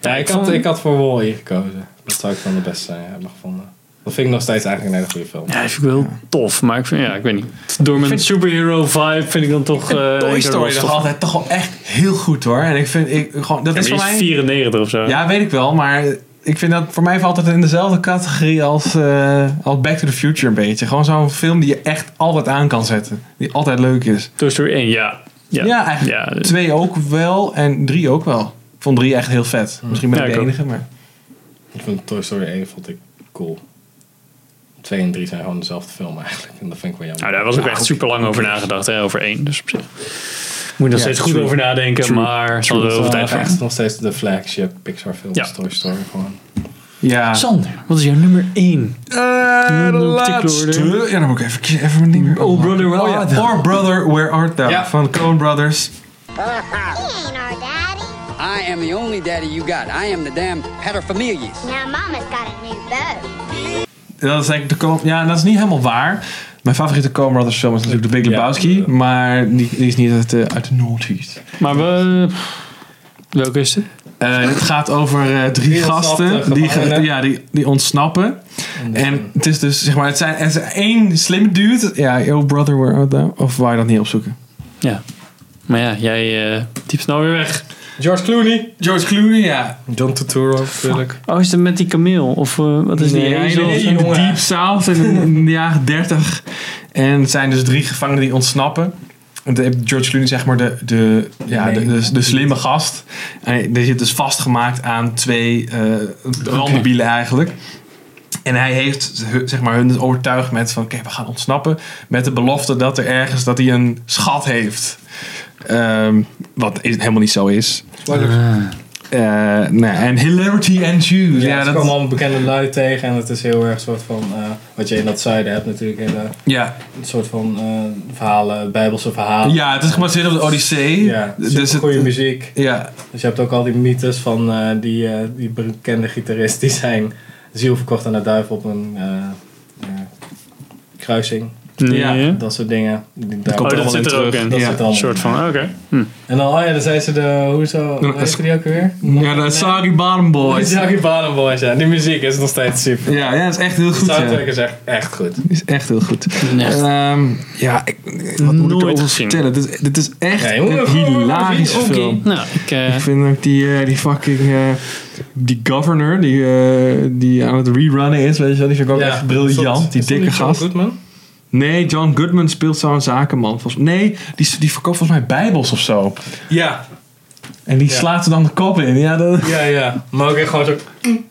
C: Ja, ik had, ik had voor Wally gekozen. Dat zou ik dan de beste zijn, hebben gevonden. Dat vind ik nog steeds eigenlijk een hele goede film.
A: Ja, die vind ik wel tof. Maar ik vind, ja, ik weet niet. Door mijn superhero vibe vind ik dan toch... eh,
B: Toy
A: Angel
B: Story
A: Ross
B: nog
A: toch-
B: altijd toch wel echt heel goed hoor. En ik vind, ik, gewoon, dat
A: Ja,
B: is
A: die
B: voor
A: is
B: mij...
A: 94 of zo.
B: Ja, weet ik wel, maar ik vind dat voor mij valt het in dezelfde categorie als, eh, als Back to the Future een beetje. Gewoon zo'n film die je echt altijd aan kan zetten. Die altijd leuk is.
A: Toy Story 1, ja. Ja, dus-
B: eigenlijk twee ook wel en drie ook wel. Ik vond drie echt heel vet. Misschien ben
C: Ja,
B: ik de
C: ik ook.
B: enige, maar...
C: Ik vond Toy Story 1 vond ik cool. 2 en 3 zijn gewoon dezelfde film eigenlijk. En dat vind ik wel jammer.
A: Nou, daar was ook echt super lang over nagedacht, hè, over één. Dus op zich moet je nog
C: Ja,
A: steeds goed
C: true.
A: over nadenken,
C: True.
A: maar het zal er
C: True.
A: wel over tijd
C: Het is wel
A: gaan.
C: echt nog steeds de flagship Pixar film
A: Ja.
C: Toy Story gewoon.
B: Ja.
A: Sander, wat is jouw nummer 1?
B: de laatste. Ja, dan moet ik even kiezen. Even mijn ding weer Oh,
A: Brother, Where
B: Art Thou? Or Brother, Where Art Thou? Van Coen Brothers.
M: I am the only daddy you got. I am the damn paterfamilias.
L: Now Mama's got a new bow.
B: Dat is denk ik de Coen... Ja, dat is niet helemaal waar. Mijn favoriete Coen Brothers film is natuurlijk The Big Lebowski.
C: eh,
B: maar die, die is niet uit de, uit de noughties.
A: Maar we... Welke is het?
B: het gaat over eh, drie
A: Die
B: gasten
A: ontsnapte
B: die,
A: gevangenen.
B: ge- ja, die, die ontsnappen. En het is dus, zeg maar, het, zijn, het is één slimme dude. Ja, yo brother, where art thou? Of waar je dat niet opzoeken?
A: Ja. Maar ja, jij eh diep snel weer weg.
C: George Clooney.
B: George Clooney, ja.
C: John Turturro natuurlijk.
A: Oh, is het met die kameel? Of eh, wat
C: Dus
A: is die? ezel?
B: in de Deep South in de jaren 30. En het zijn dus drie gevangenen die ontsnappen. Want dan heb George Clooney, zeg maar, de, de, ja, de, de, de slimme gast. En die zit dus vastgemaakt aan twee eh randenbielen eigenlijk. En hij heeft hu- zeg maar, hun dus overtuigd met van... Oké, we gaan ontsnappen. Met de belofte dat er ergens dat hij een schat heeft. Ehm, wat is, helemaal niet zo is. Eh, nou ja, en hilarity ensues.
C: Ja,
B: Ja,
C: ze
B: dat,
C: komen allemaal bekende lui tegen en het is heel erg soort van, eh, wat je in dat zuiden hebt natuurlijk, hele,
B: ja.
C: een soort van eh, verhalen, bijbelse verhalen.
B: Ja, het is gebaseerd op de Odyssee.
C: Oh. Ja,
B: Dus
C: dus
B: het-
C: goede muziek.
B: Ja.
C: Dus je hebt ook al die mythes van eh, die, eh, die bekende gitarist die zijn ziel verkocht aan de duivel op een eh, ja, kruising.
A: Ja.
C: Dat soort dingen. Die daar-
A: oh, dat zit er ook in.
C: Dat
A: Ja.
C: zit er allemaal
A: Een soort van,
C: in.
A: oké.
C: En dan, oh ja, dan zijn ze de,
B: (laughs)
C: hoezo, hoe heette die ook weer?
B: Ja, de Sagi Bottom Boys.
C: Die Soggy Bottom Boys, ja. Die muziek is nog steeds super.
B: Ja, ja, dat is echt heel goed,
C: De soundtrack
B: ja.
C: is echt, echt goed.
B: is echt heel goed. Ehm, ja, ik, wat moet ik erover vertellen? Dit, is- dit is echt
C: Nee, hoor,
B: een
C: hoor, hoor,
B: hilarische
C: oké.
B: film.
A: Nou, ik,
B: vind ook die, eh, die fucking... eh, die governor die, eh, die aan het rerunnen is, weet je wel. Die vind ik ook
C: Ja,
B: echt briljant.
C: is dat-
B: die
C: is dat
B: dikke
C: niet John
B: gast.
C: Goodman?
B: Nee, John Goodman speelt zo'n zakenman. Volgens, nee, die, die verkoopt volgens mij bijbels of zo.
C: Ja.
B: En die
C: Ja.
B: slaat er dan de kop in. Ja, dat...
C: Ja, ja. Maar ook echt gewoon zo...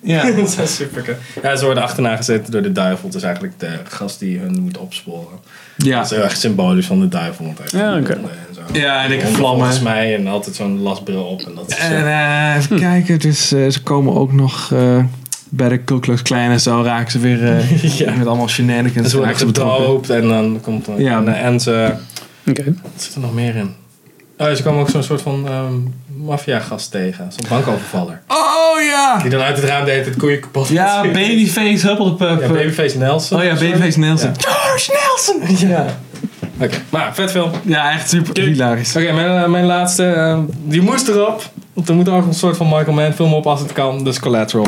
B: Ja.
C: (laughs) dat is super Ja, ze worden achterna gezeten door de duivel. Dus eigenlijk de gast die hun moet opsporen.
B: Ja.
C: Dat is heel erg symbolisch van de duivel. Want hij heeft
B: Ja, oké.
C: honden en zo.
B: Ja, en dikke
C: Honden
B: vlammen.
C: Volgens mij en altijd zo'n lasbril op. En dat is
B: En
C: zo.
B: eh,
C: (laughs)
B: even kijken, dus, eh, ze komen ook nog eh, bij de Ku Klux Klan en zo raken ze weer eh,
C: (laughs)
B: met allemaal
C: En
B: shenanigans.
C: ze worden
B: raken ze betrokken.
C: gedoopt en dan komt er
B: Ja.
C: en, eh, en ze...
A: Oké.
C: Wat zit er nog meer in? Oh, ze komen ook zo'n soort van ehm maffiagast tegen. Zo'n bankovervaller.
B: Oh ja!
C: Die dan uit het raam deed het koeien kapot.
B: Ja,
C: (laughs)
B: Babyface Huppelpup.
C: Ja, Babyface Nelson.
B: Oh ja,
C: (laughs)
B: Babyface Nelson. George Nelson! Ja.
C: Oké, maar vet film.
B: Ja, echt super hilarisch.
C: Oké, mijn, eh, mijn laatste. eh, die moest erop. Want er moet ook een soort van Michael Mann film op als het kan. Dus Collateral.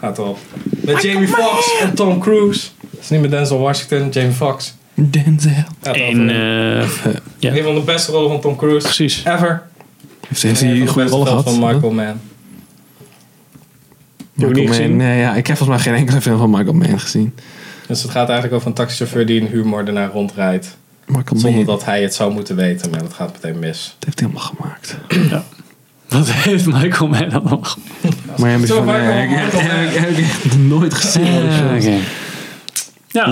C: Gaat erop. Met Jamie Foxx en Tom Cruise. Dat is niet met Denzel Washington, Jamie Foxx.
B: Denzel.
C: Gaat erover.
A: En, eh, ja.
C: Een van de beste rollen van Tom Cruise. Precies. Ever.
B: Heeft, heeft hij een goede rol
C: film
B: gehad?
C: van Michael Mann.
B: Michael
C: niet
B: Mann,
C: gezien?
B: Nee, ja, ik heb volgens mij geen enkele film van Michael Mann gezien.
C: Dus het gaat eigenlijk over een taxichauffeur die een huurmoordenaar rondrijdt.
B: Michael
C: Zonder
B: Mann.
C: dat hij het zou moeten weten, maar dat gaat meteen mis.
B: Dat heeft hij helemaal gemaakt.
A: Wat heeft Michael Mann allemaal gemaakt?
B: Maar ja,
A: Zo
B: van,
A: vaak
B: eh, ik
A: allemaal
B: heb
A: Michael
B: (laughs)
A: Mann.
B: heb- heb ik echt nooit gezien.
A: Ah, oké.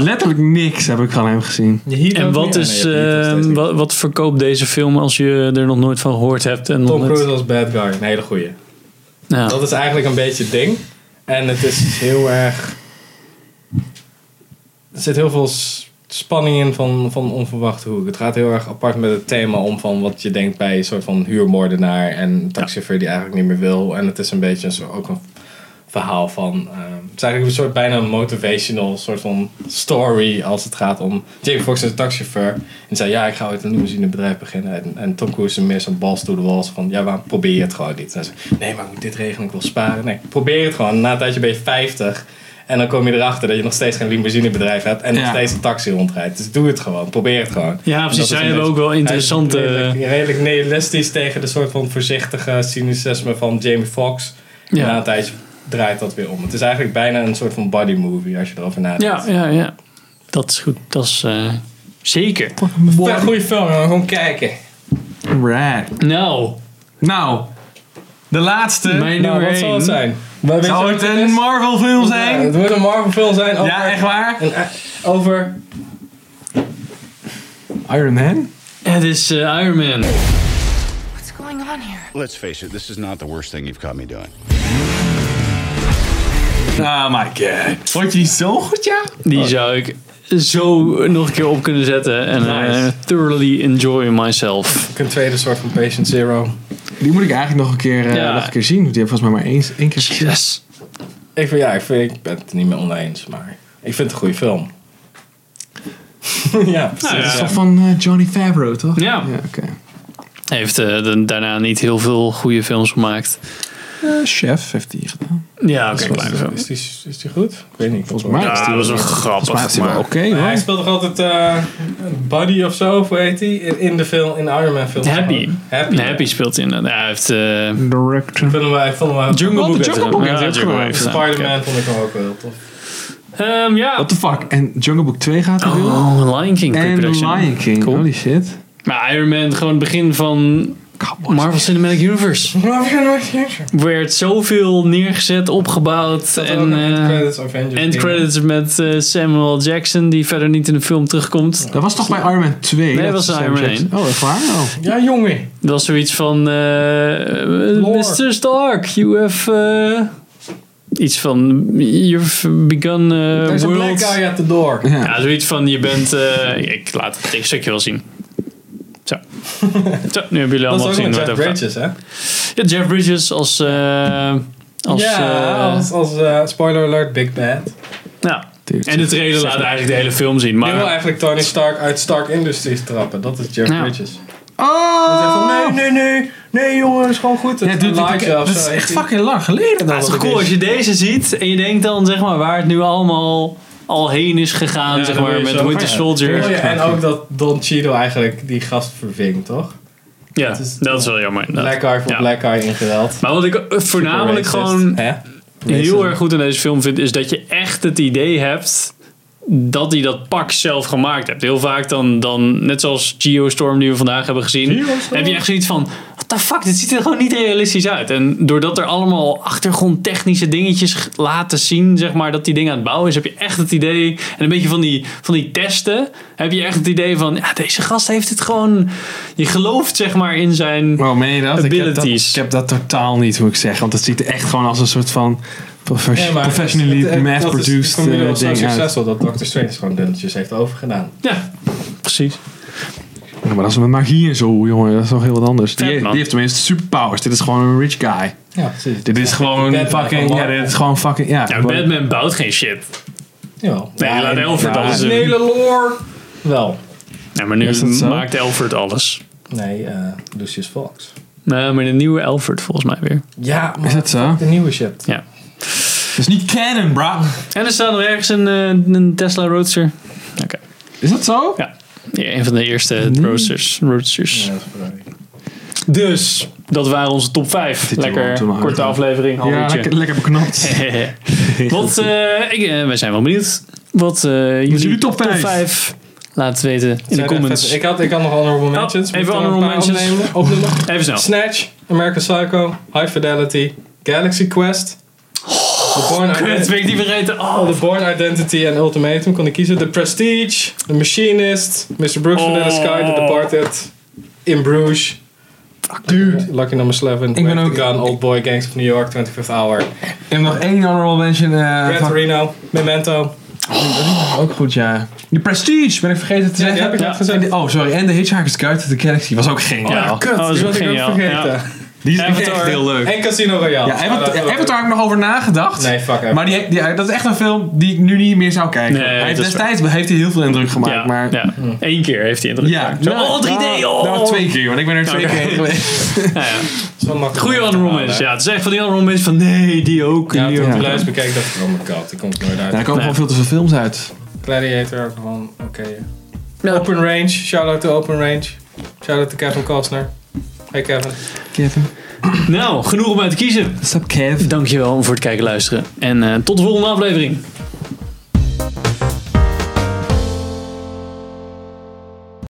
B: Letterlijk niks heb ik van hem gezien.
A: En wat, is, ehm, wat, wat verkoopt deze film als je er nog nooit van gehoord hebt? En nog
C: Tom
A: net-
C: Cruise als bad guy, een hele goeie.
A: Ja.
C: Dat is eigenlijk een beetje het ding. En het is heel erg... Er zit heel veel s- spanning in van, van onverwachte hoek. Het gaat heel erg apart met het thema om van wat je denkt bij een soort van huurmoordenaar en een taxichauffeur die eigenlijk niet meer wil. En het is een beetje een soort, ook een verhaal van. ehm, het is eigenlijk een soort bijna een motivational soort van story als het gaat om Jamie Foxx is een taxichauffeur. En zei ja, ik ga ooit een limousinebedrijf beginnen. En, en Tom Cruise is meer zo'n balls to the walls van ja, waarom probeer je het gewoon niet? En hij zei, nee, maar ik moet dit regelen, ik wil sparen. Nee, probeer het gewoon. Na een tijdje ben je 50 en dan kom je erachter dat je nog steeds geen limousinebedrijf hebt en nog
A: Ja.
C: steeds een taxi rondrijdt. Dus doe het gewoon, probeer het gewoon.
A: Ja,
C: En dat
A: precies.
C: is
A: Zij
C: een
A: hebben
C: beetje-
A: ook wel
C: hij is
A: interessante...
C: redelijk, redelijk nihilistisch tegen de soort van voorzichtige cynicisme van Jamie Foxx.
A: Ja.
C: En na een tijdje draait dat weer om. Het is eigenlijk bijna een soort van body movie als je erover nadenkt.
A: Ja, ja, ja. Dat is goed. Dat is eh, zeker.
C: Een goede film, man. gewoon kijken.
B: Right.
A: Nou.
B: Nou. De laatste.
C: Mijn Nou, nummer wat zal één. het zijn? Wat weet je
B: Zou
C: wat
B: het
C: het
B: een
C: is?
B: Marvel film zijn?
C: Ja, het wordt een Marvel film zijn. Over,
B: Ja, echt waar?
C: een- over...
B: Iron Man?
A: Het is eh, Iron Man.
N: What's going on here?
O: Let's face it, this is not the worst thing you've caught me doing.
B: Oh my god. Vond je die zo goed, ja?
C: Oh.
A: Die zou ik zo nog een keer op kunnen zetten. En eh, thoroughly enjoy myself.
C: Een tweede soort van Patient Zero.
B: Die moet ik eigenlijk nog een keer, eh,
C: Ja.
B: nog een keer zien. want Die heb ik volgens mij maar eens, één keer gezien.
C: Ik, vind, ja, ik, vind, ik ben het er niet mee oneens, maar ik vind het een goede film. (laughs) Nou ja, precies.
B: Dat is toch van eh, Johnny Favreau, toch?
A: Ja. Hij heeft eh, da- daarna niet heel veel goede films gemaakt.
B: Eh, chef heeft die gedaan.
A: Ja,
C: Is-
A: oké. blijven zo.
C: is, die, is die goed? Ik weet niet. Volgens
A: mij Ja, is die dat wel- is wel volgens grappig, mij is die wel maar- oké, hoor.
C: Hij speelt toch altijd eh Buddy of zo, of hoe heet die? In, in de film, in de Iron Man film.
A: Happy.
C: Happy.
A: Nee, Happy speelt in. eh, hij heeft... eh
B: Director.
C: Ik vond hem wel- ik vond hem wel...
A: Jungle
C: Oh,
A: Book heeft
C: de Jungle
A: hem.
C: Book
A: Ja,
C: heeft hij ook
A: Jungle Book heeft
C: gedaan.
A: hem.
C: Spider-Man vond ik hem ook wel heel (laughs) tof.
A: ja.
B: What the fuck? En Jungle Book 2 gaat er weer?
A: Oh, Lion King
B: En
A: pre-production.
B: Lion King. Holy shit.
A: Maar Iron Man, gewoon het begin van Marvel Cinematic Universe. Werd zoveel neergezet, opgebouwd. En eh,
C: credits Avengers
A: end
C: Game.
A: credits met eh, Samuel Jackson, die verder niet in de film terugkomt.
B: Dat was toch bij Iron Man 2?
A: Nee, dat
B: is
A: was
B: Sam
A: Iron Man
B: Jackson.
A: 1.
B: Oh, echt waar? Oh.
C: Ja, jongen.
A: Dat was zoiets van... eh, Mr. Stark, you have... eh, iets van... You've begun eh
C: There's a
A: world...
C: black guy at the door.
A: Ja. zoiets van je bent... eh, ik laat het tekststukje wel zien. Zo. Zo, nu hebben jullie
C: Dat is
A: allemaal
C: ook
A: gezien
C: met
A: waar het
C: Jeff
A: over gaat.
C: Bridges, hè?
A: Ja, Jeff Bridges als... eh, als
C: ja,
A: eh,
C: als, als eh, spoiler alert, Big Bad.
A: Nou, en de trailer laat eigenlijk de hele film zien.
C: Maar... wil
A: Maar
C: eigenlijk Tony Stark uit Stark Industries trappen. Dat is Jeff
A: Ja.
C: Bridges.
B: Oh!
C: Nee, nee, nee. Nee, jongen, dat is gewoon goed.
B: Ja, dude,
C: Elijah
B: dit-
C: of
B: dat
C: zo,
B: is
C: heet
B: echt
C: die.
B: fucking lang geleden.
A: het is toch cool als je deze ziet en je denkt dan zeg maar waar het nu allemaal al heen is gegaan
C: Ja,
A: zeg
C: dan wil
A: maar
C: je
A: met
C: zo-
A: Winter
C: ja.
A: Soldier.
C: Oh ja, en ook dat Don Cheadle eigenlijk die gast verving, toch?
A: Ja, dat is wel jammer. inderdaad.
C: Black Eye voor
A: Ja.
C: Black Eye ingeweld.
A: Maar wat ik eh, voornamelijk
C: Super racist.
A: gewoon
C: Hè?
A: heel
C: Racism.
A: erg goed in deze film vind, is dat je echt het idee hebt dat hij dat pak zelf gemaakt hebt. Heel vaak dan, dan net zoals Geostorm die we vandaag hebben gezien,
C: Geostorm?
A: heb je echt zoiets van, what the fuck, dit ziet er gewoon niet realistisch uit. En doordat er allemaal achtergrondtechnische dingetjes g- laten zien, zeg maar, dat die dingen aan het bouwen is, heb je echt het idee, en een beetje van die, van die testen, heb je echt het idee van, ja, deze gast heeft het gewoon, je gelooft zeg maar in zijn
B: Oh, meen je dat? Ik heb dat,
A: abilities.
B: ik heb dat totaal niet, moet ik zeggen. Want het ziet er echt gewoon als een soort van profes-
C: Ja, maar
B: professionally
C: het- het- Dat is
B: mass-produced
C: voor mij
B: eh,
C: wel zo
B: ding uit.
C: succesvol dat Doctor Strange gewoon dunnetjes heeft overgedaan.
A: Ja, precies.
B: Ja, maar dat is met magie en zo, jongen. Dat is nog heel wat anders. Die,
C: Vet,
B: die
C: man.
B: heeft tenminste superpowers. Dit is gewoon een rich guy.
C: Ja, precies.
B: Dit is gewoon
A: Batman
B: fucking...
A: van
B: Ja,
A: Marvel.
B: dit is gewoon fucking... Ja,
A: Ja,
B: gewoon-
A: Batman bouwt geen shit.
C: Jawel.
A: Nee, laat Elford
B: ja,
A: alles
B: en-
A: doen.
C: Hele lore. Wel.
A: Ja, maar nu
B: Is dat zo?
A: maakt Elford alles.
C: Nee, eh, Lucius Fox.
A: Nee, maar de nieuwe Elford volgens mij weer.
C: Ja, maar
B: Is dat zo?
C: de nieuwe shit.
A: Ja.
B: Dat is niet canon, bro.
A: En er staat nog ergens een, eh, een Tesla Roadster. Oké.
B: Is dat zo?
A: Ja. ja, een van de eerste Roadsters. Roadsters. dus, dat waren onze top 5.
B: Dit
A: Lekker
B: jongen, doe maar.
A: korte aflevering. half
B: Ja,
A: uurtje.
B: lekker, lekker
A: (laughs)
B: beknopt.
A: Wat, eh, ik, eh, wij zijn wel benieuwd wat eh, jullie
B: jullie top
A: top 5,
B: vijf?
A: laten weten in de
C: Zijn er
A: comments.
C: even- Ik had, ik had nog honorable mentions.
A: even
C: Moeten we
A: honorable
C: een paar
A: mentions.
C: opnemen? Opnoemen.
A: Even snel. (laughs)
C: Snatch, American Psycho, High Fidelity, Galaxy Quest. The Born
A: Kut, ben ik die vergeten? Oh,
C: The Born Identity en Ultimatum kon ik kiezen. The Prestige, The Machinist, Mr. Brooks van
A: Oh.
C: Vanilla Sky, The Departed, In Bruges. Dude. Lucky number 11, ik ben ook, the Gun, Old Boy, Gangs of New York, 25th Hour.
B: Ik heb nog één honorable mention. eh,
C: Red
B: van-
C: Torino, Memento.
B: Ook goed, ja. Die Prestige, ben ik vergeten te
C: Ja, die
B: zeggen.
C: heb ik net
B: En die- Oh, sorry. En de Hitchhiker's Guide to the Galaxy was ook geniaal.
A: Ja, kut. Oh, dat is
C: die
A: ook
C: had ik ook
A: geniaal.
C: vergeten.
A: Ja.
B: Die is
C: Avatar
B: echt heel leuk.
C: en Casino Royale.
B: Ja,
C: Ah, dat
B: Avatar,
C: is ook
B: Avatar heb ik nog over nagedacht.
C: Nee, fuck Avatar.
B: Maar die, die- dat is echt een film die ik nu niet meer zou kijken.
A: Nee,
B: hij heeft
A: dat is
B: destijds heeft hij heel veel indruk gemaakt.
A: Ja,
B: maar,
A: ja. Eén keer heeft hij indruk gemaakt. Zo, oh, 3D, oh!
B: Nou, twee keer, want ik ben er twee
A: Oké.
B: keer heen geweest.
A: Ja, ja. Goeie honorable mentions. Ja, het is echt van die honorable mentions van nee, die ook.
C: Ja,
A: die
C: toen ik
A: ook.
C: de lijst bekijk dacht ik, oh my god, die komt nooit uit.
B: Daar komen gewoon veel te veel films uit.
C: Gladiator ook gewoon, oké. Open Range, shout-out to Open Range. Shout-out to Kevin Costner. Hey Kevin.
B: Kevin.
A: Nou, genoeg om uit te kiezen.
B: Sup, Kev.
A: Dankjewel voor het kijken en luisteren. En eh, tot de volgende aflevering.